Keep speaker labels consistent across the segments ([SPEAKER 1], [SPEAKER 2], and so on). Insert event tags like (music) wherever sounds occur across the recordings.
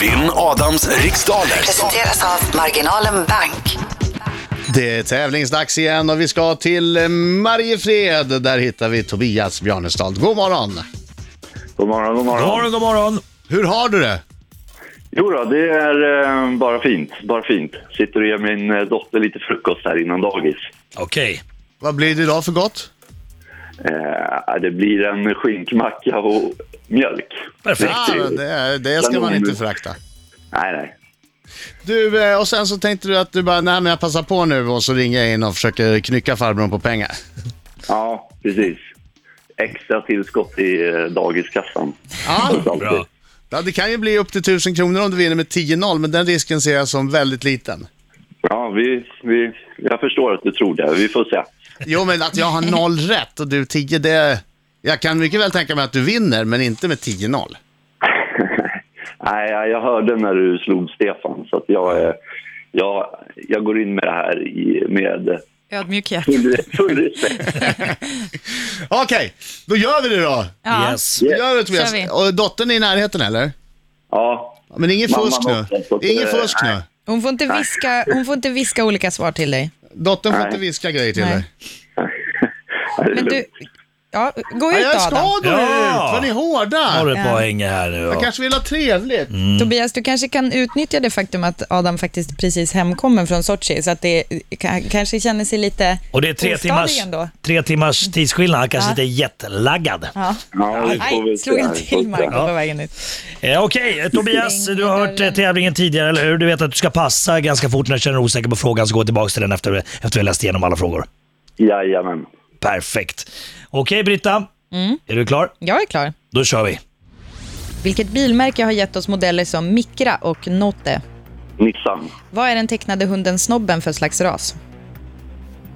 [SPEAKER 1] Vinn Adams riksdaler.
[SPEAKER 2] Presenteras av Marginalen Bank.
[SPEAKER 3] Det är tävlingsdags igen och vi ska till Mariefred. Där hittar vi Tobias Bjarnestad. God morgon!
[SPEAKER 4] God morgon, god
[SPEAKER 5] God
[SPEAKER 4] morgon.
[SPEAKER 5] morgon, god morgon.
[SPEAKER 3] Hur har du det?
[SPEAKER 4] Jo då, det är eh, bara fint. Bara fint. Sitter och ger min eh, dotter lite frukost här innan dagis.
[SPEAKER 5] Okej.
[SPEAKER 3] Vad blir det idag för gott?
[SPEAKER 4] Eh, det blir en skinkmacka och mjölk.
[SPEAKER 5] Perfekt.
[SPEAKER 3] Ah, men det, det ska man inte förakta.
[SPEAKER 4] Nej, nej.
[SPEAKER 3] Du, eh, och sen så tänkte du att du bara, nej men jag passar på nu och så ringer jag in och försöker knycka farbrorn på pengar.
[SPEAKER 4] Ja, precis. Extra tillskott i eh, dagiskassan.
[SPEAKER 3] Ja,
[SPEAKER 4] Allt.
[SPEAKER 5] Bra.
[SPEAKER 3] Ja, det kan ju bli upp till 1000 kronor om du vinner med 10-0, men den risken ser jag som väldigt liten.
[SPEAKER 4] Ja, vi, vi, jag förstår att du tror det. Vi får se.
[SPEAKER 3] Jo, men att jag har noll rätt och du 10, det... Jag kan mycket väl tänka mig att du vinner, men inte med 10-0.
[SPEAKER 4] Nej, jag- jag hörde när du slog Stefan, så att jag, är- jag, jag går in med det här i, med
[SPEAKER 6] Ödmjukhet.
[SPEAKER 4] full, full respekt.
[SPEAKER 3] Okej, då gör vi det då!
[SPEAKER 6] Ja.
[SPEAKER 5] Yes.
[SPEAKER 3] Då gör vi det
[SPEAKER 6] Kör vi.
[SPEAKER 3] Tobias. Och dottern är i närheten eller?
[SPEAKER 4] Ja,
[SPEAKER 3] Ja, Men ingen
[SPEAKER 4] Mamma
[SPEAKER 3] fusk nu.
[SPEAKER 4] dotter, så att,
[SPEAKER 3] Ingen
[SPEAKER 4] eh,
[SPEAKER 3] fusk nu.
[SPEAKER 6] Hon, får inte viska, hon får inte viska olika svar till dig.
[SPEAKER 3] Dottern får
[SPEAKER 4] Nej.
[SPEAKER 3] inte viska grejer till
[SPEAKER 6] Nej.
[SPEAKER 3] dig.
[SPEAKER 4] det är
[SPEAKER 6] Men du,
[SPEAKER 4] lugnt.
[SPEAKER 6] ja, gå
[SPEAKER 3] Ja,
[SPEAKER 6] ut
[SPEAKER 3] jag ska
[SPEAKER 6] Adam.
[SPEAKER 3] gå
[SPEAKER 5] Ja.
[SPEAKER 3] ut! Vad ni är
[SPEAKER 5] Har du
[SPEAKER 3] hårda!
[SPEAKER 5] ett poäng här nu
[SPEAKER 3] Jag
[SPEAKER 5] då?
[SPEAKER 3] kanske vill ha trevligt.
[SPEAKER 5] Mm.
[SPEAKER 6] Tobias, du kanske kan utnyttja det faktum att Adam faktiskt precis hemkommen från Sochi, så att det k- kanske känner sig lite
[SPEAKER 5] Och det är tre
[SPEAKER 6] ostadig
[SPEAKER 5] timmars,
[SPEAKER 6] ändå.
[SPEAKER 5] tre timmars tidsskillnad. Han kanske
[SPEAKER 6] Ja.
[SPEAKER 5] inte är jättelaggad.
[SPEAKER 6] Ja.
[SPEAKER 4] Ja, vi får
[SPEAKER 6] Aj,
[SPEAKER 4] väl
[SPEAKER 6] slog
[SPEAKER 4] se.
[SPEAKER 6] jag
[SPEAKER 4] Vi får
[SPEAKER 6] till
[SPEAKER 4] se.
[SPEAKER 6] Marco
[SPEAKER 5] Ja.
[SPEAKER 6] på vägen ut.
[SPEAKER 5] Eh, Okej, eh, Tobias,
[SPEAKER 6] Stäng
[SPEAKER 5] du har hört eh,
[SPEAKER 6] dörren.
[SPEAKER 5] tävlingen tidigare, eller hur? Du vet att du ska passa ganska fort när du känner dig osäker på frågan, så gå tillbaka till den efter, efter vi har läst igenom alla frågor.
[SPEAKER 4] Jajamän.
[SPEAKER 5] Perfekt. Okej, Britta.
[SPEAKER 6] Mm.
[SPEAKER 5] Är du klar?
[SPEAKER 6] Jag är klar.
[SPEAKER 5] Då kör vi.
[SPEAKER 6] Vilket bilmärke har gett oss modeller som Micra och Note?
[SPEAKER 4] Nissan.
[SPEAKER 6] Vad är den tecknade hunden Snobben för slags ras?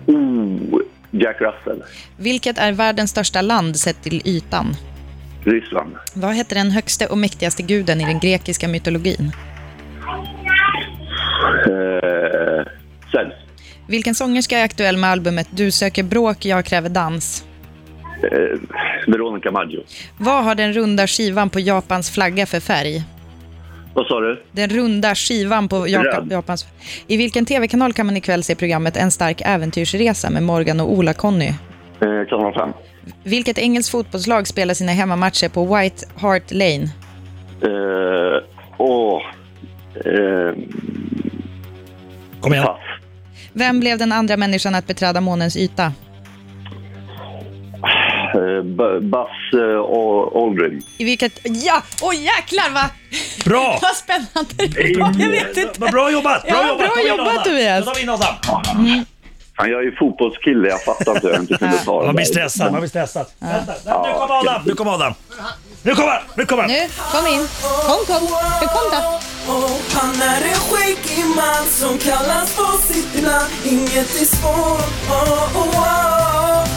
[SPEAKER 4] Oh, Jack Russell.
[SPEAKER 6] Vilket är världens största land sett till ytan?
[SPEAKER 4] Ryssland.
[SPEAKER 6] Vad heter den högste och mäktigaste guden i den grekiska mytologin?
[SPEAKER 4] Eh, Zeus.
[SPEAKER 6] Vilken sångerska är aktuell med albumet Du söker bråk, jag kräver dans?
[SPEAKER 4] Eh, Veronica Maggio.
[SPEAKER 6] Vad har den runda skivan på Japans flagga för färg?
[SPEAKER 4] Vad sa du?
[SPEAKER 6] Den runda skivan på Jaka-
[SPEAKER 4] Röd.
[SPEAKER 6] Japans... I vilken tv-kanal kan man ikväll se programmet En stark äventyrsresa med Morgan och Ola-Conny?
[SPEAKER 4] Eh, Kanal 5.
[SPEAKER 6] Vilket engelskt fotbollslag spelar sina hemmamatcher på White Hart Lane?
[SPEAKER 4] Eh, åh. Eh,
[SPEAKER 5] Kom igen.
[SPEAKER 4] pass.
[SPEAKER 6] Vem blev den andra människan att beträda månens yta?
[SPEAKER 4] Eh, B- Buzz eh, Ol- Aldrin.
[SPEAKER 6] I vilket... Ja! Åh jäklar vad,
[SPEAKER 5] Bra!
[SPEAKER 6] (laughs) vad spännande det var! Jag vet inte.
[SPEAKER 5] Vad Bra jobbat! Bra
[SPEAKER 6] Ja,
[SPEAKER 5] jobbat,
[SPEAKER 6] bra
[SPEAKER 5] Ta in
[SPEAKER 6] jobbat,
[SPEAKER 5] Adam.
[SPEAKER 6] Tobias.
[SPEAKER 5] Då tar vi in Adam.
[SPEAKER 4] Fan, jag är ju fotbollskille. Jag fattar inte hur jag inte kunde ta det.
[SPEAKER 5] Man blir
[SPEAKER 4] där.
[SPEAKER 5] stressad, man blir stressad. Vänta, vänta, nu kommer Adam, nu kommer Adam. Nu kommer han, nu kommer han.
[SPEAKER 6] Nu, kom in. Kom, kom. Nu, kom då.
[SPEAKER 7] Och han är en skäggig man som kallas på sitt namn Inget är svårt, oh, oh, oh.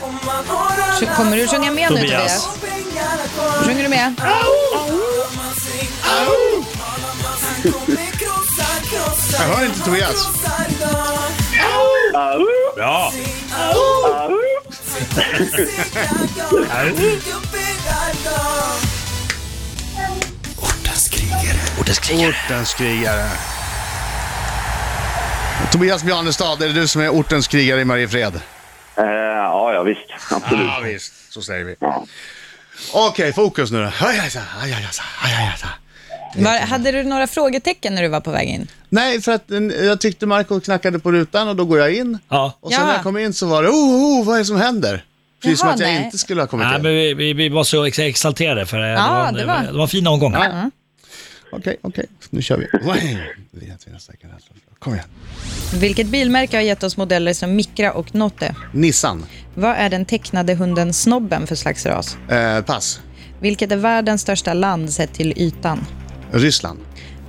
[SPEAKER 7] Om man har
[SPEAKER 6] Så
[SPEAKER 7] alla
[SPEAKER 6] kommer du sjunga med nu
[SPEAKER 5] Tobias.
[SPEAKER 6] Tobias?
[SPEAKER 7] och pengarna kvar
[SPEAKER 6] Sjunger du med?
[SPEAKER 7] Talar man sig ut, talar man sig kommer krossa, krossa
[SPEAKER 3] Jag hör inte Tobias.
[SPEAKER 7] krossar idag.
[SPEAKER 4] Ah, uh,
[SPEAKER 3] (laughs)
[SPEAKER 4] ah,
[SPEAKER 5] Bra!
[SPEAKER 4] uh.
[SPEAKER 7] Segrar jag, tänker bära idag.
[SPEAKER 3] Ortens krigare. Tobias Bjarnestad, är det du som är ortens krigare i Mariefred?
[SPEAKER 4] Eh, ja, ja, visst. Absolut.
[SPEAKER 6] Ah.
[SPEAKER 3] Ja, visst. Så säger vi.
[SPEAKER 4] Ja.
[SPEAKER 3] Okej, fokus nu då. Aj, aj, aj, aj, aj, aj, aj.
[SPEAKER 6] Var, hade du några frågetecken när du var på väg in?
[SPEAKER 3] Nej, för att eh, jag tyckte Marco knackade på rutan och då går jag in.
[SPEAKER 5] Ja.
[SPEAKER 3] Och sen
[SPEAKER 6] Ja.
[SPEAKER 3] när jag kom in så var det, oh, oh vad är det som händer? Precis som
[SPEAKER 6] Jaha,
[SPEAKER 3] att jag
[SPEAKER 6] nej.
[SPEAKER 3] inte skulle ha kommit
[SPEAKER 5] Nej,
[SPEAKER 3] in.
[SPEAKER 5] men vi, vi, vi var så ex- exalterade för eh, det,
[SPEAKER 6] Ja,
[SPEAKER 5] var, en-
[SPEAKER 6] det var-
[SPEAKER 5] det var en fin omgång.
[SPEAKER 3] Okej, okej, nu kör vi. Vet vi nästa kan alltså. Kom igen.
[SPEAKER 6] Vilket bilmärke har gett oss modeller som Micra och Note?
[SPEAKER 3] Nissan,
[SPEAKER 6] Vad är den tecknade hunden Snobben för slags ras?
[SPEAKER 3] eh, pass.
[SPEAKER 6] Vilket är världens största land sett till ytan?
[SPEAKER 3] Ryssland,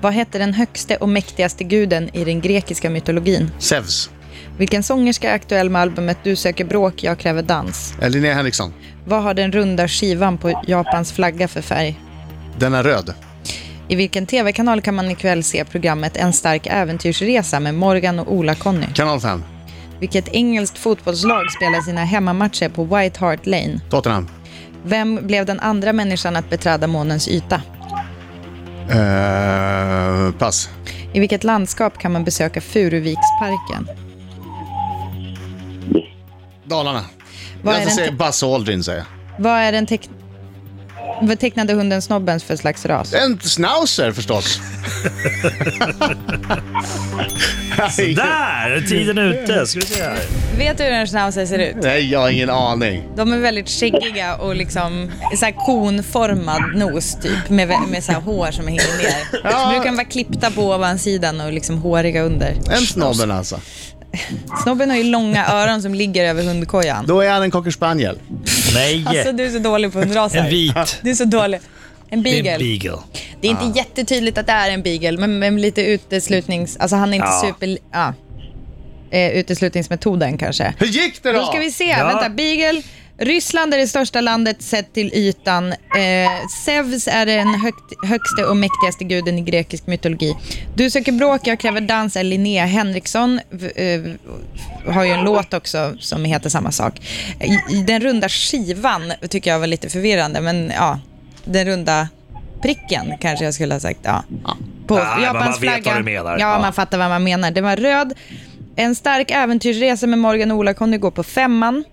[SPEAKER 6] Vad hette den högste och mäktigaste guden i den grekiska mytologin?
[SPEAKER 3] Zeus,
[SPEAKER 6] Vilken sångerska är aktuell med albumet Du söker bråk, jag kräver dans?
[SPEAKER 3] Eh, Linnea Henriksson.
[SPEAKER 6] Vad har den runda skivan på Japans flagga för färg?
[SPEAKER 3] Den är röd.
[SPEAKER 6] I vilken tv-kanal kan man ikväll se programmet En stark äventyrsresa med Morgan och Ola-Conny?
[SPEAKER 3] Kanal 5,
[SPEAKER 6] Vilket engelskt fotbollslag spelar sina hemmamatcher på White Hart Lane?
[SPEAKER 3] Tottenham,
[SPEAKER 6] Vem blev den andra människan att beträda månens yta?
[SPEAKER 3] eh, eh, pass.
[SPEAKER 6] I vilket landskap kan man besöka Furuviksparken?
[SPEAKER 3] Dalarna.
[SPEAKER 6] Vad är
[SPEAKER 3] jag
[SPEAKER 6] den-
[SPEAKER 3] ska säga Buzz Aldrin säger
[SPEAKER 6] Vad är den teck... Vad tecknade hunden Snobben för slags ras?
[SPEAKER 3] jag. En schnauzer förstås.
[SPEAKER 5] Där! Tiden
[SPEAKER 6] Mm.
[SPEAKER 5] är ute. Ska vi se här.
[SPEAKER 6] Vet du hur en schnauzer ser ut?
[SPEAKER 3] Nej, jag har ingen aning.
[SPEAKER 6] De är väldigt skäggiga och liksom så här konformad nos typ med, vä- med så här hår som hänger ner. Så brukar de vara klippta på ovansidan och liksom håriga under.
[SPEAKER 3] En snobben alltså.
[SPEAKER 6] Snobben har ju långa öron som ligger över hundkojan.
[SPEAKER 3] Då är han en cocker spaniel.
[SPEAKER 5] Nej!
[SPEAKER 6] Alltså du är så dålig på hundraser.
[SPEAKER 5] En vit.
[SPEAKER 6] Du är så dålig. En
[SPEAKER 5] Det är
[SPEAKER 6] beagle.
[SPEAKER 5] en beagle.
[SPEAKER 6] Det är inte jättetydligt att det är en beagle, men, men lite uteslutnings... Alltså han är inte
[SPEAKER 5] Ja.
[SPEAKER 6] super... Ja. Eh, uteslutningsmetoden kanske.
[SPEAKER 3] Hur gick det då?
[SPEAKER 6] Då ska vi se.
[SPEAKER 5] Ja.
[SPEAKER 6] Vänta, Beagle. Ryssland är det största landet sett till ytan. Eh, Zeus är den högt, högste och mäktigaste guden i grekisk mytologi. Du söker bråk, jag kräver dans är Linnea Henriksson. V, eh, har ju en låt också som heter samma sak. I, i den runda skivan tycker jag var lite förvirrande, men ja. Den runda pricken kanske jag skulle ha sagt. Ja. På
[SPEAKER 5] Nej, men
[SPEAKER 6] Japans
[SPEAKER 5] man vet
[SPEAKER 6] flagga.
[SPEAKER 5] vad du menar.
[SPEAKER 6] Ja,
[SPEAKER 5] Ja.
[SPEAKER 6] man fattar vad man menar. Den var röd. En stark äventyrsresa med Morgan och Ola-Conny går på femman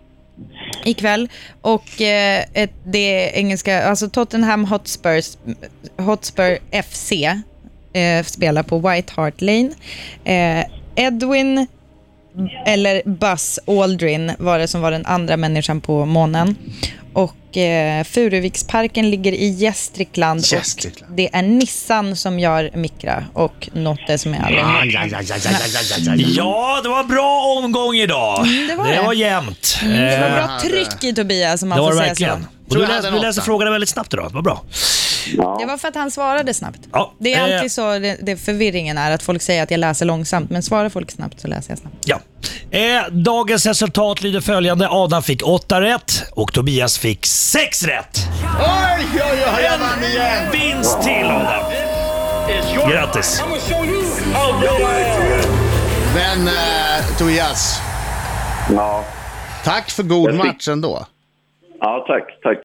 [SPEAKER 6] ikväll. Och eh, ett, det engelska, alltså Tottenham Hotspurs, Hotspur FC eh, spelar på White Hart Lane. Eh, Edwin, eller Buzz Aldrin var det som var den andra människan på månen. Och eh, Furuviksparken ligger i Gästrikland.
[SPEAKER 3] Gästrikland.
[SPEAKER 6] Och det är Nissan som gör Mikra och Notte som är alla.
[SPEAKER 5] Ja, det var bra omgång idag.
[SPEAKER 6] Mm, det var det. Mm,
[SPEAKER 5] var jämnt.
[SPEAKER 6] Det var
[SPEAKER 5] Eh,
[SPEAKER 6] bra tryck i Tobias, om man
[SPEAKER 5] det var
[SPEAKER 6] får
[SPEAKER 5] det
[SPEAKER 6] säga
[SPEAKER 5] verkligen.
[SPEAKER 6] så.
[SPEAKER 5] Och
[SPEAKER 3] Tror
[SPEAKER 5] du,
[SPEAKER 3] jag
[SPEAKER 5] läs,
[SPEAKER 3] hade
[SPEAKER 5] du
[SPEAKER 3] en
[SPEAKER 5] läser
[SPEAKER 3] åtta.
[SPEAKER 5] frågna väldigt snabbt idag. Vad bra.
[SPEAKER 6] Det var för att han svarade snabbt.
[SPEAKER 5] Ja,
[SPEAKER 6] Det är
[SPEAKER 5] eh.
[SPEAKER 6] alltid så det, det förvirringen är, att folk säger att jag läser långsamt, men svarar folk snabbt så läser jag snabbt.
[SPEAKER 5] Ja. Eh, dagens resultat lyder följande. Adam fick 8 rätt och Tobias fick 6 rätt.
[SPEAKER 3] Oj, oj, oj, jag vann igen!
[SPEAKER 5] Vinst till Adam. Grattis.
[SPEAKER 3] Men eh, Tobias,
[SPEAKER 4] Ja,
[SPEAKER 3] tack för god
[SPEAKER 4] Jag fick-
[SPEAKER 3] match ändå.
[SPEAKER 4] ja tack, tack.